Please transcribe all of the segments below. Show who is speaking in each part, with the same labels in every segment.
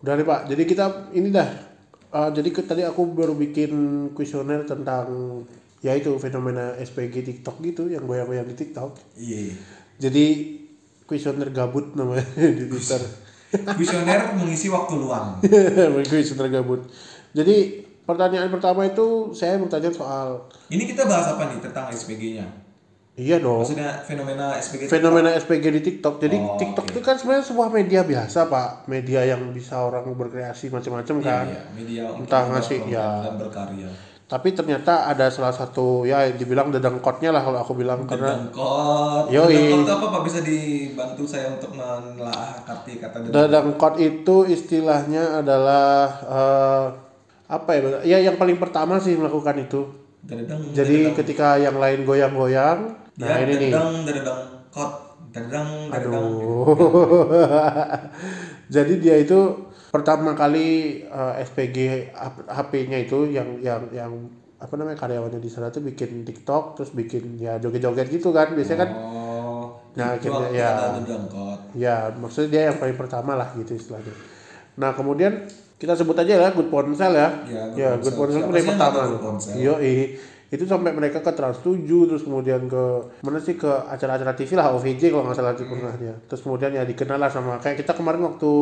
Speaker 1: Udah nih Pak, jadi kita ini dah. Eh, jadi ke- tadi aku baru bikin kuesioner tentang ya itu fenomena SPG TikTok gitu yang goyang-goyang di TikTok.
Speaker 2: Iya.
Speaker 1: Jadi kuesioner gabut namanya di Twitter.
Speaker 2: Visioner mengisi waktu luang.
Speaker 1: kuesioner gabut. Jadi pertanyaan pertama itu saya bertanya soal
Speaker 2: Ini kita bahas apa nih tentang SPG-nya?
Speaker 1: iya dong
Speaker 2: Maksudnya fenomena SPG.
Speaker 1: fenomena SPG di TikTok. Jadi
Speaker 2: Oh,
Speaker 1: TikTok
Speaker 2: oke.
Speaker 1: itu kan sebenarnya sebuah media biasa, Pak. Media yang bisa orang berkreasi macam-macam
Speaker 2: Iya,
Speaker 1: kan.
Speaker 2: iya, media untuk
Speaker 1: Entah ngasih, ya.
Speaker 2: dan berkarya.
Speaker 1: Tapi ternyata ada salah satu ya dibilang dedengkotnya lah kalau aku bilang karena
Speaker 2: Dengkot.
Speaker 1: Yoi.
Speaker 2: Dengkot itu apa Pak bisa dibantu saya untuk menelaah arti kata dengkot?
Speaker 1: dedengkot itu istilahnya adalah eh, apa ya? Ya yang paling pertama sih melakukan itu.
Speaker 2: Hmm, Dedeng,
Speaker 1: Jadi
Speaker 2: dedeng.
Speaker 1: ketika yang lain goyang-goyang, nah
Speaker 2: ya,
Speaker 1: ini nih.
Speaker 2: dedeng, dedeng, kot, dedeng, dedeng.
Speaker 1: Aduh. Jadi dia itu pertama kali eh, SPG HP-nya itu yang yang yang apa namanya karyawannya di sana tuh bikin TikTok terus bikin ya joget-joget gitu kan biasanya kan
Speaker 2: Oh,
Speaker 1: Nah,
Speaker 2: itu
Speaker 1: akhirnya,
Speaker 2: arti
Speaker 1: ya.
Speaker 2: kata dengkot.
Speaker 1: ya maksudnya dia yang paling pertama lah gitu istilahnya. Nah kemudian kita sebut aja ya Good Ponsel ya.
Speaker 2: Ya, Good
Speaker 1: ya Good
Speaker 2: Ponsel.
Speaker 1: Ponsel itu yang
Speaker 2: Siapa sih yang
Speaker 1: pertama.
Speaker 2: nggak tahu Good Ponsel?
Speaker 1: Yoi. itu sampai mereka ke Trans 7 terus kemudian ke mana sih ke acara-acara TV lah OVJ kalau nggak salah itu pernahnya. Terus kemudian ya dikenal lah sama kayak kita kemarin waktu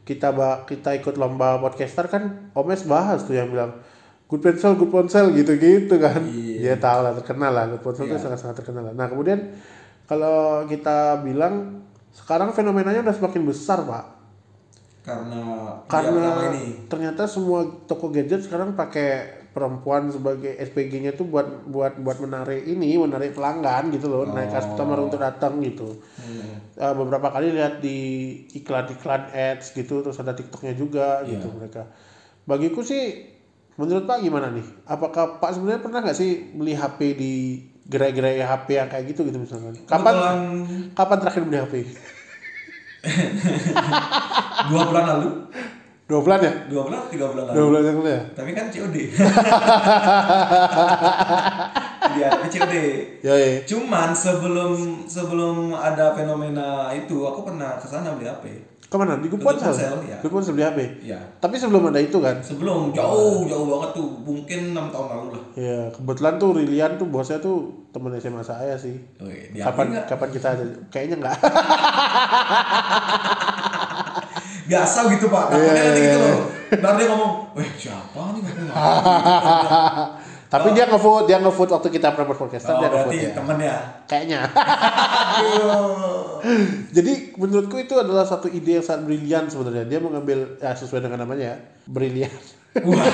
Speaker 1: kita ba- kita ikut lomba podcaster kan Omes bahas tuh yang bilang Good Ponsel, Good Ponsel gitu-gitu kan. Dia tahu lah terkenal lah Good Ponsel itu sangat-sangat terkenal lah. Nah, kemudian kalau kita bilang sekarang fenomenanya udah semakin besar, Pak
Speaker 2: Karena
Speaker 1: karena
Speaker 2: dia Iya, pertama ini
Speaker 1: ternyata semua toko gadget sekarang pakai perempuan sebagai SPG-nya tuh buat buat buat menarik ini menarik pelanggan gitu loh
Speaker 2: Oh.
Speaker 1: naik customer untuk datang gitu
Speaker 2: Hmm,
Speaker 1: Eh, beberapa kali lihat di iklan-iklan ads gitu terus ada tiktoknya juga
Speaker 2: Iya.
Speaker 1: gitu mereka bagiku sih menurut pak gimana nih apakah pak sebenarnya pernah nggak sih beli HP di gerai-gerai HP yang kayak gitu gitu misalkan kapan
Speaker 2: kebetulan
Speaker 1: kapan terakhir beli HP
Speaker 2: dua bulan lalu,
Speaker 1: dua bulan ya
Speaker 2: dua bulan, tiga bulan lalu.
Speaker 1: dua bulan yang lalu ya
Speaker 2: Tapi kan COD. Iya, tapi COD.
Speaker 1: ya, ya.
Speaker 2: Cuman sebelum sebelum ada fenomena itu, aku pernah ke sana beli HP.
Speaker 1: Kemana? Di Good
Speaker 2: Good
Speaker 1: Ponsel?
Speaker 2: Ponsel, iya.
Speaker 1: Good Ponsel beli HP?
Speaker 2: Iya.
Speaker 1: Tapi sebelum ada itu kan?
Speaker 2: Sebelum jauh jauh banget tuh, mungkin enam tahun lalu lah.
Speaker 1: Ya, kebetulan tuh Rilian tuh bosnya tuh temen SMA saya sih.
Speaker 2: Oke, diambil
Speaker 1: Kapan
Speaker 2: nggak? Oh.
Speaker 1: kapan kita ada? Kayaknya enggak.
Speaker 2: biasa gitu pak takutnya nanti gitu loh ntar dia ngomong weh siapa nih Pak?
Speaker 1: Tapi dia ngevote, dia ngevote waktu kita pernah berpodcastan
Speaker 2: oh,
Speaker 1: dia
Speaker 2: berarti
Speaker 1: ngevote ya.
Speaker 2: temennya
Speaker 1: Kayaknya.
Speaker 2: Aduh.
Speaker 1: Jadi menurutku itu adalah satu ide yang sangat brilian sebenarnya. Dia mengambil ya, sesuai dengan namanya ya, brilian.
Speaker 2: wah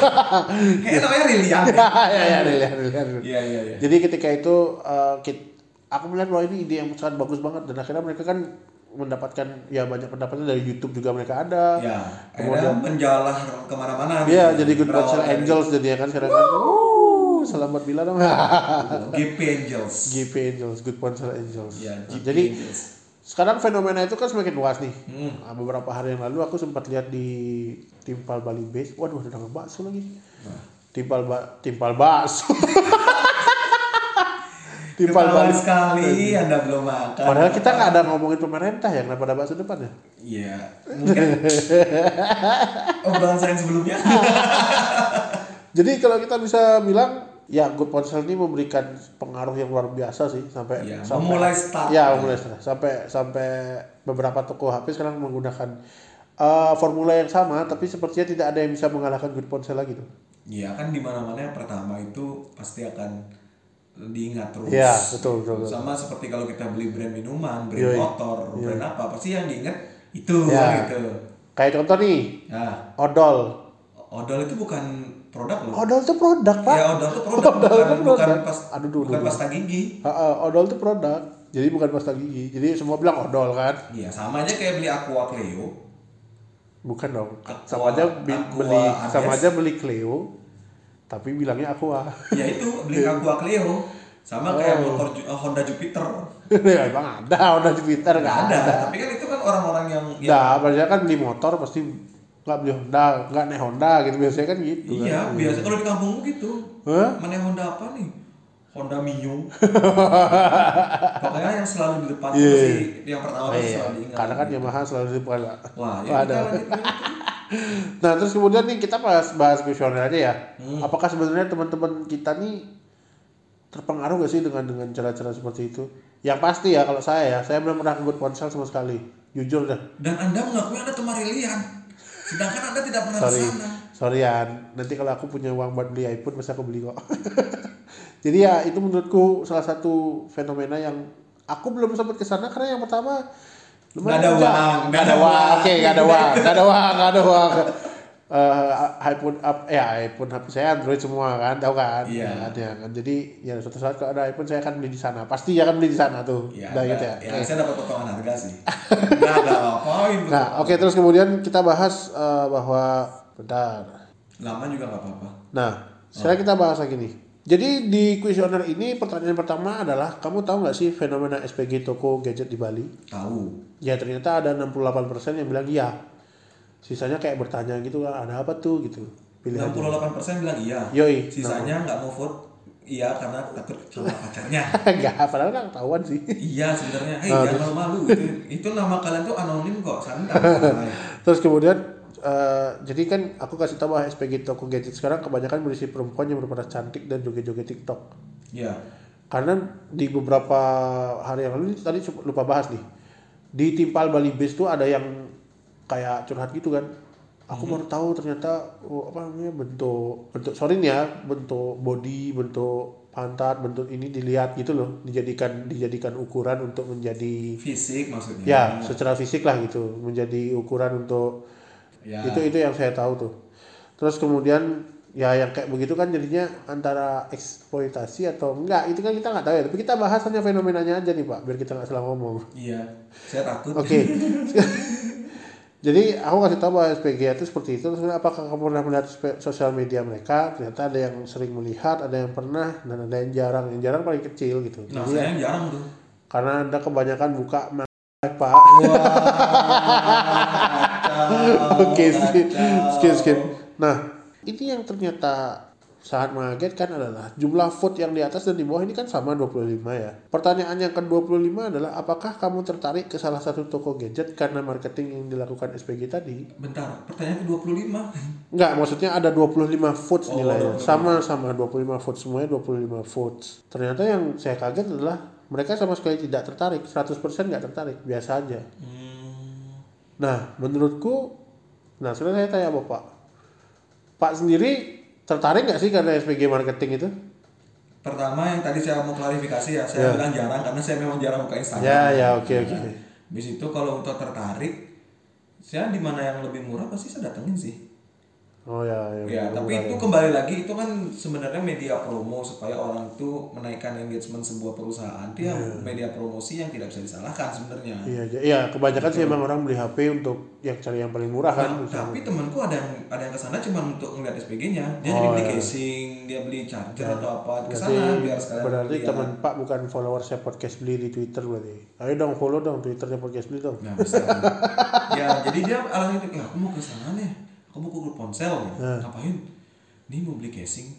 Speaker 2: kayaknya namanya Rilian
Speaker 1: ya, ya, brilian, brilian.
Speaker 2: iya iya iya
Speaker 1: Jadi ketika itu eh, kit- aku melihat bahwa ini ide yang sangat bagus banget dan akhirnya mereka kan mendapatkan ya banyak pendapatnya dari YouTube juga mereka ada.
Speaker 2: ya akhirnya menjalar kemana-mana
Speaker 1: Iya,
Speaker 2: gitu.
Speaker 1: jadi Good
Speaker 2: Berawal
Speaker 1: Ponsel
Speaker 2: dari
Speaker 1: Angels jadi kan sekarang kan. Wuh, selamat bila dong.
Speaker 2: GP gitu. Angels
Speaker 1: GP Angels, Good Ponsel Angels.
Speaker 2: ya
Speaker 1: Nah,
Speaker 2: GP
Speaker 1: jadi
Speaker 2: Angels
Speaker 1: sekarang fenomena itu kan semakin luas nih.
Speaker 2: Hmm.
Speaker 1: Nah, beberapa hari yang lalu aku sempat lihat di Timpal Bali Base. Waduh, ada nama bakso lagi.
Speaker 2: Nah.
Speaker 1: Timpal ba Timpal bakso. Timpal
Speaker 2: Ketahuan
Speaker 1: Bali
Speaker 2: sekali anda belum makan
Speaker 1: Padahal kita nggak ada ngomongin pemerintah ya, kenapa ada bakso depan ya?
Speaker 2: Iya, mungkin obrolan saya yang sebelumnya.
Speaker 1: Jadi kalau kita bisa bilang, ya Good Ponsel ini memberikan pengaruh yang luar biasa sih sampai
Speaker 2: Iya,
Speaker 1: sampai
Speaker 2: memulai start.
Speaker 1: ya mulai setelah. sampai sampai beberapa toko HP sekarang menggunakan eh, formula yang sama, tapi sepertinya tidak ada yang bisa mengalahkan Good Ponsel lagi tuh.
Speaker 2: Iya kan di mana mana yang pertama itu pasti akan diingat terus.
Speaker 1: Iya, betul, betul, betul.
Speaker 2: Sama seperti kalau kita beli brand minuman, brand
Speaker 1: Yoi.
Speaker 2: motor, brand apa pasti yang diingat itu
Speaker 1: Ya.
Speaker 2: gitu.
Speaker 1: Kayak contoh nih,
Speaker 2: Nah,
Speaker 1: odol.
Speaker 2: odol itu bukan produk loh.
Speaker 1: Odol itu produk pak.
Speaker 2: Ya odol itu produk,
Speaker 1: Odol
Speaker 2: bukan,
Speaker 1: itu
Speaker 2: bukan
Speaker 1: produk.
Speaker 2: pas,
Speaker 1: Aduh, aduh,
Speaker 2: bukan
Speaker 1: aduh.
Speaker 2: pasta gigi.
Speaker 1: Ha, ha, odol itu produk. Jadi bukan pasta gigi. Jadi semua bilang odol kan?
Speaker 2: Iya, sama aja kayak beli Aqua Cleo.
Speaker 1: Bukan dong.
Speaker 2: Aqua-
Speaker 1: sama aja bi-
Speaker 2: Aqua
Speaker 1: beli
Speaker 2: Aries.
Speaker 1: sama aja beli Cleo, tapi bilangnya aqua.
Speaker 2: Ya itu beli
Speaker 1: Iya.
Speaker 2: Aqua Cleo. Sama kayak
Speaker 1: Oh.
Speaker 2: motor Ju- eh, Honda Jupiter.
Speaker 1: ya emang ada Honda Jupiter nggak ada.
Speaker 2: Nggak ada. Tapi kan itu kan orang-orang yang, yang
Speaker 1: Nah, biasanya kan beli motor pasti nggak beli Honda, nggak naik Honda gitu biasanya kan gitu. kan.
Speaker 2: Iya, biasa kalau di kampung gitu.
Speaker 1: Hah?
Speaker 2: Mana Honda apa nih? Honda Mio. Pokoknya yang selalu di depan itu
Speaker 1: Iya.
Speaker 2: sih yang pertama tuh
Speaker 1: Iya,
Speaker 2: selalu diingat.
Speaker 1: karena kan Yamaha selalu di depan, Pak.
Speaker 2: Wah, ya
Speaker 1: Wah,
Speaker 2: kita
Speaker 1: ada.
Speaker 2: lanjut. lanjut.
Speaker 1: Nah terus kemudian nih kita bahas bahas kuesioner aja ya.
Speaker 2: Hmm.
Speaker 1: Apakah sebenarnya teman-teman kita nih terpengaruh gak sih dengan dengan cara-cara seperti itu? Yang pasti ya kalau saya ya, saya belum pernah ngebut ponsel sama sekali. Jujur dah.
Speaker 2: Dan Anda mengakui Anda teman Rilian. Sedangkan Anda tidak pernah
Speaker 1: Sorry.
Speaker 2: ke sana.
Speaker 1: Sorry An. Nanti kalau aku punya uang buat beli iPhone pasti aku beli kok. Jadi ya itu menurutku salah satu fenomena yang aku belum sempat ke sana karena yang pertama lumayan
Speaker 2: Nggak ada
Speaker 1: jauh.
Speaker 2: uang,
Speaker 1: nggak ada uang, oke nggak ada uang, nggak ada uang, nggak ada uang. Eh, iPhone up, ya iPhone HP saya Android semua kan, tahu kan?
Speaker 2: Iya.
Speaker 1: Kan, ya kan. Jadi ya suatu saat kalau ada iPhone saya akan beli di sana, pasti ya akan beli di sana tuh.
Speaker 2: Ya,
Speaker 1: Udah
Speaker 2: Anda-
Speaker 1: gitu ya.
Speaker 2: ya,
Speaker 1: Oke.
Speaker 2: saya dapat potongan harga sih. Enggak ada apa-apain. tuh.
Speaker 1: Nah, oke terus kemudian kita bahas eh, bahwa bentar.
Speaker 2: Lama juga nggak apa-apa.
Speaker 1: Nah, sekarang kita bahas lagi nih. Jadi di kuesioner ini pertanyaan pertama adalah kamu tahu nggak sih fenomena SPG toko gadget di Bali?
Speaker 2: Tahu.
Speaker 1: Ya ternyata ada 68% yang bilang iya. Sisanya kayak bertanya gitu kan, ada apa tuh gitu. Pilih aja.
Speaker 2: 68% bilang iya.
Speaker 1: Yoi.
Speaker 2: Sisanya nggak mau vote iya karena takut sama pacarnya.
Speaker 1: Enggak, padahal nggak ketahuan sih.
Speaker 2: iya sebenarnya. Hei, jangan malu-malu. Itu, itu nama kalian tuh anonim kok. Santai.
Speaker 1: Terus kemudian eh, jadi kan aku kasih tahu bahwa SPG toko gadget sekarang kebanyakan berisi perempuan yang berpada cantik dan joget-joget TikTok.
Speaker 2: Iya.
Speaker 1: karena di beberapa hari yang lalu ini tadi cukup lupa bahas nih di timpal Bali Base tuh ada yang kayak curhat gitu kan aku baru tahu ternyata oh, apa namanya bentuk bentuk sorry nih ya bentuk body bentuk pantat bentuk ini dilihat gitu loh dijadikan dijadikan ukuran untuk menjadi
Speaker 2: Fisik maksudnya.
Speaker 1: ya secara fisik lah gitu menjadi ukuran untuk
Speaker 2: Ya.
Speaker 1: itu itu yang saya tahu tuh terus kemudian ya yang kayak begitu kan jadinya antara eksploitasi atau enggak itu kan kita nggak tahu ya tapi kita bahas hanya fenomenanya aja nih pak biar kita nggak salah ngomong oke
Speaker 2: Iya. Saya takut.
Speaker 1: jadi aku kasih tahu bahwa SPG itu seperti itu terus apakah kamu pernah melihat spe- sosial media mereka ternyata ada yang sering melihat ada yang pernah dan ada yang jarang yang jarang paling kecil gitu
Speaker 2: Nah,
Speaker 1: Jadi,
Speaker 2: saya jarang tuh.
Speaker 1: karena anda kebanyakan buka ma- pak Oke, skip, skip, skip. Nah, ini yang ternyata sangat mengagetkan adalah jumlah vote yang di atas dan di bawah ini kan sama 25 ya. Pertanyaan yang ke-25 adalah apakah kamu tertarik ke salah satu toko gadget karena marketing yang dilakukan SPG tadi?
Speaker 2: Bentar, pertanyaan ke 25
Speaker 1: Enggak, maksudnya ada 25 votes
Speaker 2: Oh,
Speaker 1: nilainya.
Speaker 2: 25.
Speaker 1: Sama-sama 25 votes semuanya 25 votes. Ternyata yang saya kaget adalah mereka sama sekali tidak tertarik, 100% nggak tertarik, biasa aja.
Speaker 2: hmm,
Speaker 1: Nah, menurutku, nah sekarang saya tanya bapak, Pak sendiri tertarik nggak sih karena SPG marketing itu?
Speaker 2: Pertama yang tadi saya mau klarifikasi ya Saya bilang jarang karena saya memang jarang buka Instagram Nah,
Speaker 1: Ya, ya, oke, oke.
Speaker 2: Habis itu kalau untuk tertarik Saya di mana yang lebih murah pasti saya datengin sih
Speaker 1: Oh ya, ya.
Speaker 2: Ya, tapi itu kembali lagi itu kan sebenarnya media promo supaya orang itu menaikkan engagement sebuah perusahaan. Dia media promosi yang tidak bisa disalahkan sebenarnya.
Speaker 1: Ya. Iya, iya, iya, kebanyakan sih emang orang beli HP untuk yang cari yang paling murah kan.
Speaker 2: Nah, tapi temanku ada yang ada yang kesana cuma untuk ngeliat SPG-nya.
Speaker 1: Oh,
Speaker 2: Dia
Speaker 1: iya.
Speaker 2: jadi beli casing, dia beli charger atau apa kesana nah, biar sekalian.
Speaker 1: Berarti kan
Speaker 2: lihat.
Speaker 1: teman Pak bukan followersnya podcast beli di Twitter berarti. Ayo dong follow dong Twitternya podcast beli dong.
Speaker 2: Nah, bisa. ya, jadi dia alasan itu, ya aku mau ke sana nih. Aku mau ke grup ponsel. gitu."
Speaker 1: Eh.
Speaker 2: Ngapain? Nih mau beli casing.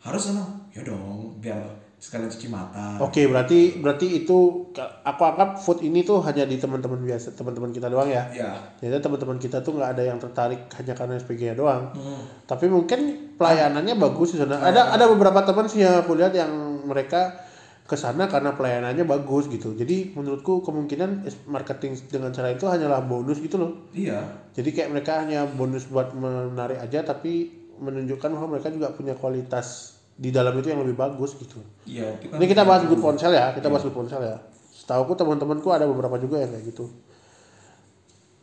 Speaker 2: Harus sana. Ya dong, biar sekalian cuci mata.
Speaker 1: Oke, berarti berarti itu aku anggap vote ini tuh hanya di teman-teman biasa, teman-teman kita doang ya.
Speaker 2: Ya.
Speaker 1: Ternyata teman-teman kita tuh nggak ada yang tertarik hanya karena SPG-nya doang.
Speaker 2: Hmm.
Speaker 1: Tapi mungkin pelayanannya bagus di sana. Ada ada beberapa teman sih yang aku lihat yang mereka ke sana karena pelayanannya bagus gitu. Jadi menurutku kemungkinan is- marketing dengan cara itu hanyalah bonus gitu loh.
Speaker 2: Iya.
Speaker 1: Jadi kayak mereka hanya bonus buat menarik aja tapi menunjukkan bahwa mereka juga punya kualitas di dalam itu yang lebih bagus gitu.
Speaker 2: Iya, itu kan.
Speaker 1: Ini kita bahas good ponsel ya, kita bahas good ponsel ya. Setahuku teman-temanku ada beberapa juga yang kayak gitu.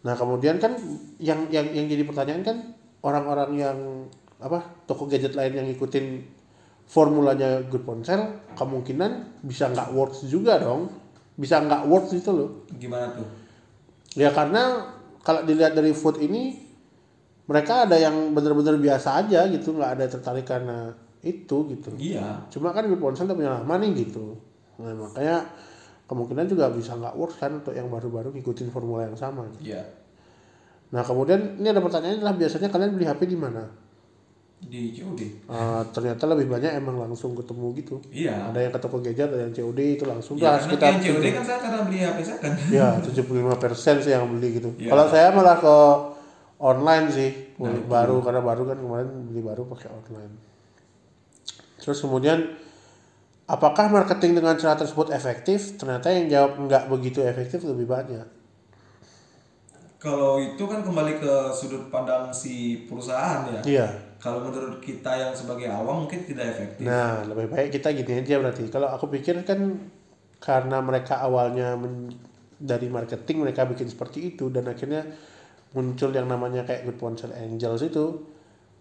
Speaker 1: Nah kemudian kan yang yang yang jadi pertanyaan kan orang-orang yang apa toko gadget lain yang ngikutin formulanya good ponsel kemungkinan bisa nggak works juga dong, bisa nggak works itu loh.
Speaker 2: Gimana tuh?
Speaker 1: Ya karena kalau dilihat dari food ini mereka ada yang benar-benar biasa aja gitu, nggak ada yang tertarik karena itu gitu.
Speaker 2: Iya.
Speaker 1: Cuma kan Good Ponsel udah punya lama nih gitu. Nah, makanya kemungkinan juga bisa nggak works kan untuk yang baru-baru ngikutin formula yang sama. gitu.
Speaker 2: Iya.
Speaker 1: Nah, kemudian ini ada pertanyaan adalah biasanya kalian beli HP di mana?
Speaker 2: Di COD.
Speaker 1: Eh, ternyata lebih banyak emang langsung ketemu gitu.
Speaker 2: Iya.
Speaker 1: Ada yang ke toko gadget, ada yang COD itu langsung
Speaker 2: Iya,
Speaker 1: lah
Speaker 2: karena
Speaker 1: sekitar
Speaker 2: yang COD kan saya karena beli HP saya kan.
Speaker 1: ya 75% sih yang beli gitu.
Speaker 2: Iya.
Speaker 1: Kalau saya malah ke online sih beli baru karena baru kan kemarin beli baru pakai online terus kemudian apakah marketing dengan cara tersebut efektif ternyata yang jawab nggak begitu efektif lebih banyak
Speaker 2: Kalau itu kan kembali ke sudut pandang si perusahaan ya.
Speaker 1: iya
Speaker 2: Kalau menurut kita yang sebagai awam mungkin tidak efektif.
Speaker 1: Nah, lebih baik kita gini aja berarti. Kalau aku pikir kan karena mereka awalnya men- dari marketing mereka bikin seperti itu dan akhirnya muncul yang namanya kayak Good Ponsel Angels itu.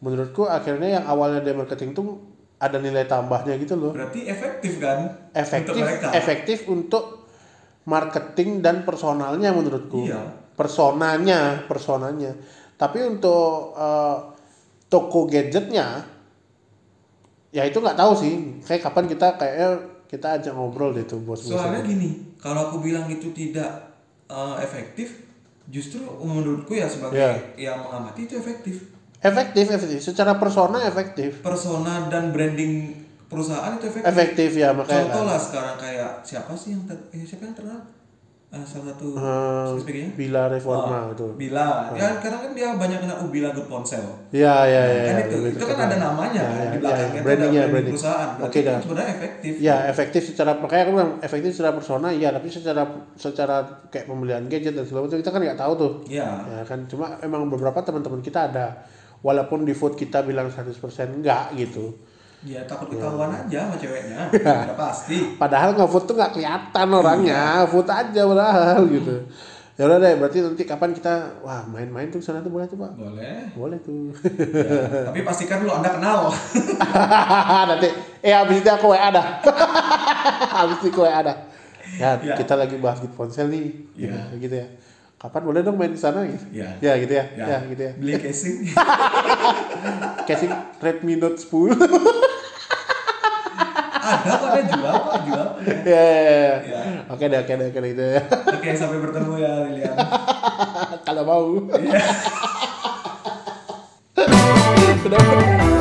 Speaker 1: Menurutku akhirnya yang awalnya dari marketing tuh ada nilai tambahnya gitu loh.
Speaker 2: Berarti efektif kan?
Speaker 1: Efektif,
Speaker 2: Untuk mereka.
Speaker 1: efektif untuk marketing dan personalnya menurutku.
Speaker 2: Iya.
Speaker 1: Personanya, personanya. Tapi untuk eh, toko gadgetnya, ya itu nggak tahu sih. Kayak kapan kita kayaknya kita ajak ngobrol deh tuh bos.
Speaker 2: Soalnya gini, kalau aku bilang itu tidak eh, efektif, justru menurutku ya sebagai yang mengamati itu efektif.
Speaker 1: Efektif, efektif. Secara persona efektif.
Speaker 2: Persona dan branding perusahaan itu efektif.
Speaker 1: Efektif ya makanya. kan.
Speaker 2: Contoh lah sekarang kayak siapa sih yang ter- eh, siapa yang terkenal? Eh, salah satu
Speaker 1: Eh,
Speaker 2: speakernya?
Speaker 1: Bila
Speaker 2: Ah.
Speaker 1: reforma itu.
Speaker 2: Bila. Ya karena kan dia banyak kena Ubila Good Ponsel.
Speaker 1: Ya, ya, ya.
Speaker 2: kan
Speaker 1: ya,
Speaker 2: itu,
Speaker 1: lebih
Speaker 2: itu kan
Speaker 1: terkenal.
Speaker 2: ada namanya
Speaker 1: Ya,
Speaker 2: kan
Speaker 1: ya, ya,
Speaker 2: di
Speaker 1: ya.
Speaker 2: belakangnya itu
Speaker 1: Branding ya,
Speaker 2: ada branding
Speaker 1: branding.
Speaker 2: perusaaan.
Speaker 1: Oke,
Speaker 2: Berarti itu
Speaker 1: dah.
Speaker 2: sebenarnya efektif.
Speaker 1: Ya efektif secara makanya aku bilang efektif secara persona iya tapi secara secara kayak pembelian gadget dan segala macam kita kan nggak tahu tuh
Speaker 2: Ya.
Speaker 1: ya kan cuma emang beberapa teman-teman kita ada walaupun di vote kita bilang 100% enggak gitu
Speaker 2: Ya takut ketahuan aja sama ceweknya.
Speaker 1: Ya.
Speaker 2: Udah pasti.
Speaker 1: padahal nggak vote tuh nggak kelihatan orangnya vote aja padahal gitu ya udah deh berarti nanti kapan kita wah main-main tuh sana tuh boleh tuh pak
Speaker 2: Boleh.
Speaker 1: boleh tuh
Speaker 2: Ya, Tapi pastikan dulu Anda kenal.
Speaker 1: nanti eh habis itu aku WA dah habis itu aku WA dah ya,
Speaker 2: Ya.
Speaker 1: kita lagi bahas di ponsel nih gitu, gitu ya kapan boleh dong main di sana gitu
Speaker 2: Ya.
Speaker 1: ya gitu ya ya,
Speaker 2: Ya.
Speaker 1: gitu ya
Speaker 2: Beli casing.
Speaker 1: casing Redmi Note 10
Speaker 2: ada kok ada jual kok jual.
Speaker 1: ya, ya, ya.
Speaker 2: Ya.
Speaker 1: oke deh oke deh oke deh gitu ya
Speaker 2: Oke, sampai bertemu ya Lilian.
Speaker 1: Ya. kalau mau
Speaker 2: Iya.
Speaker 1: sudah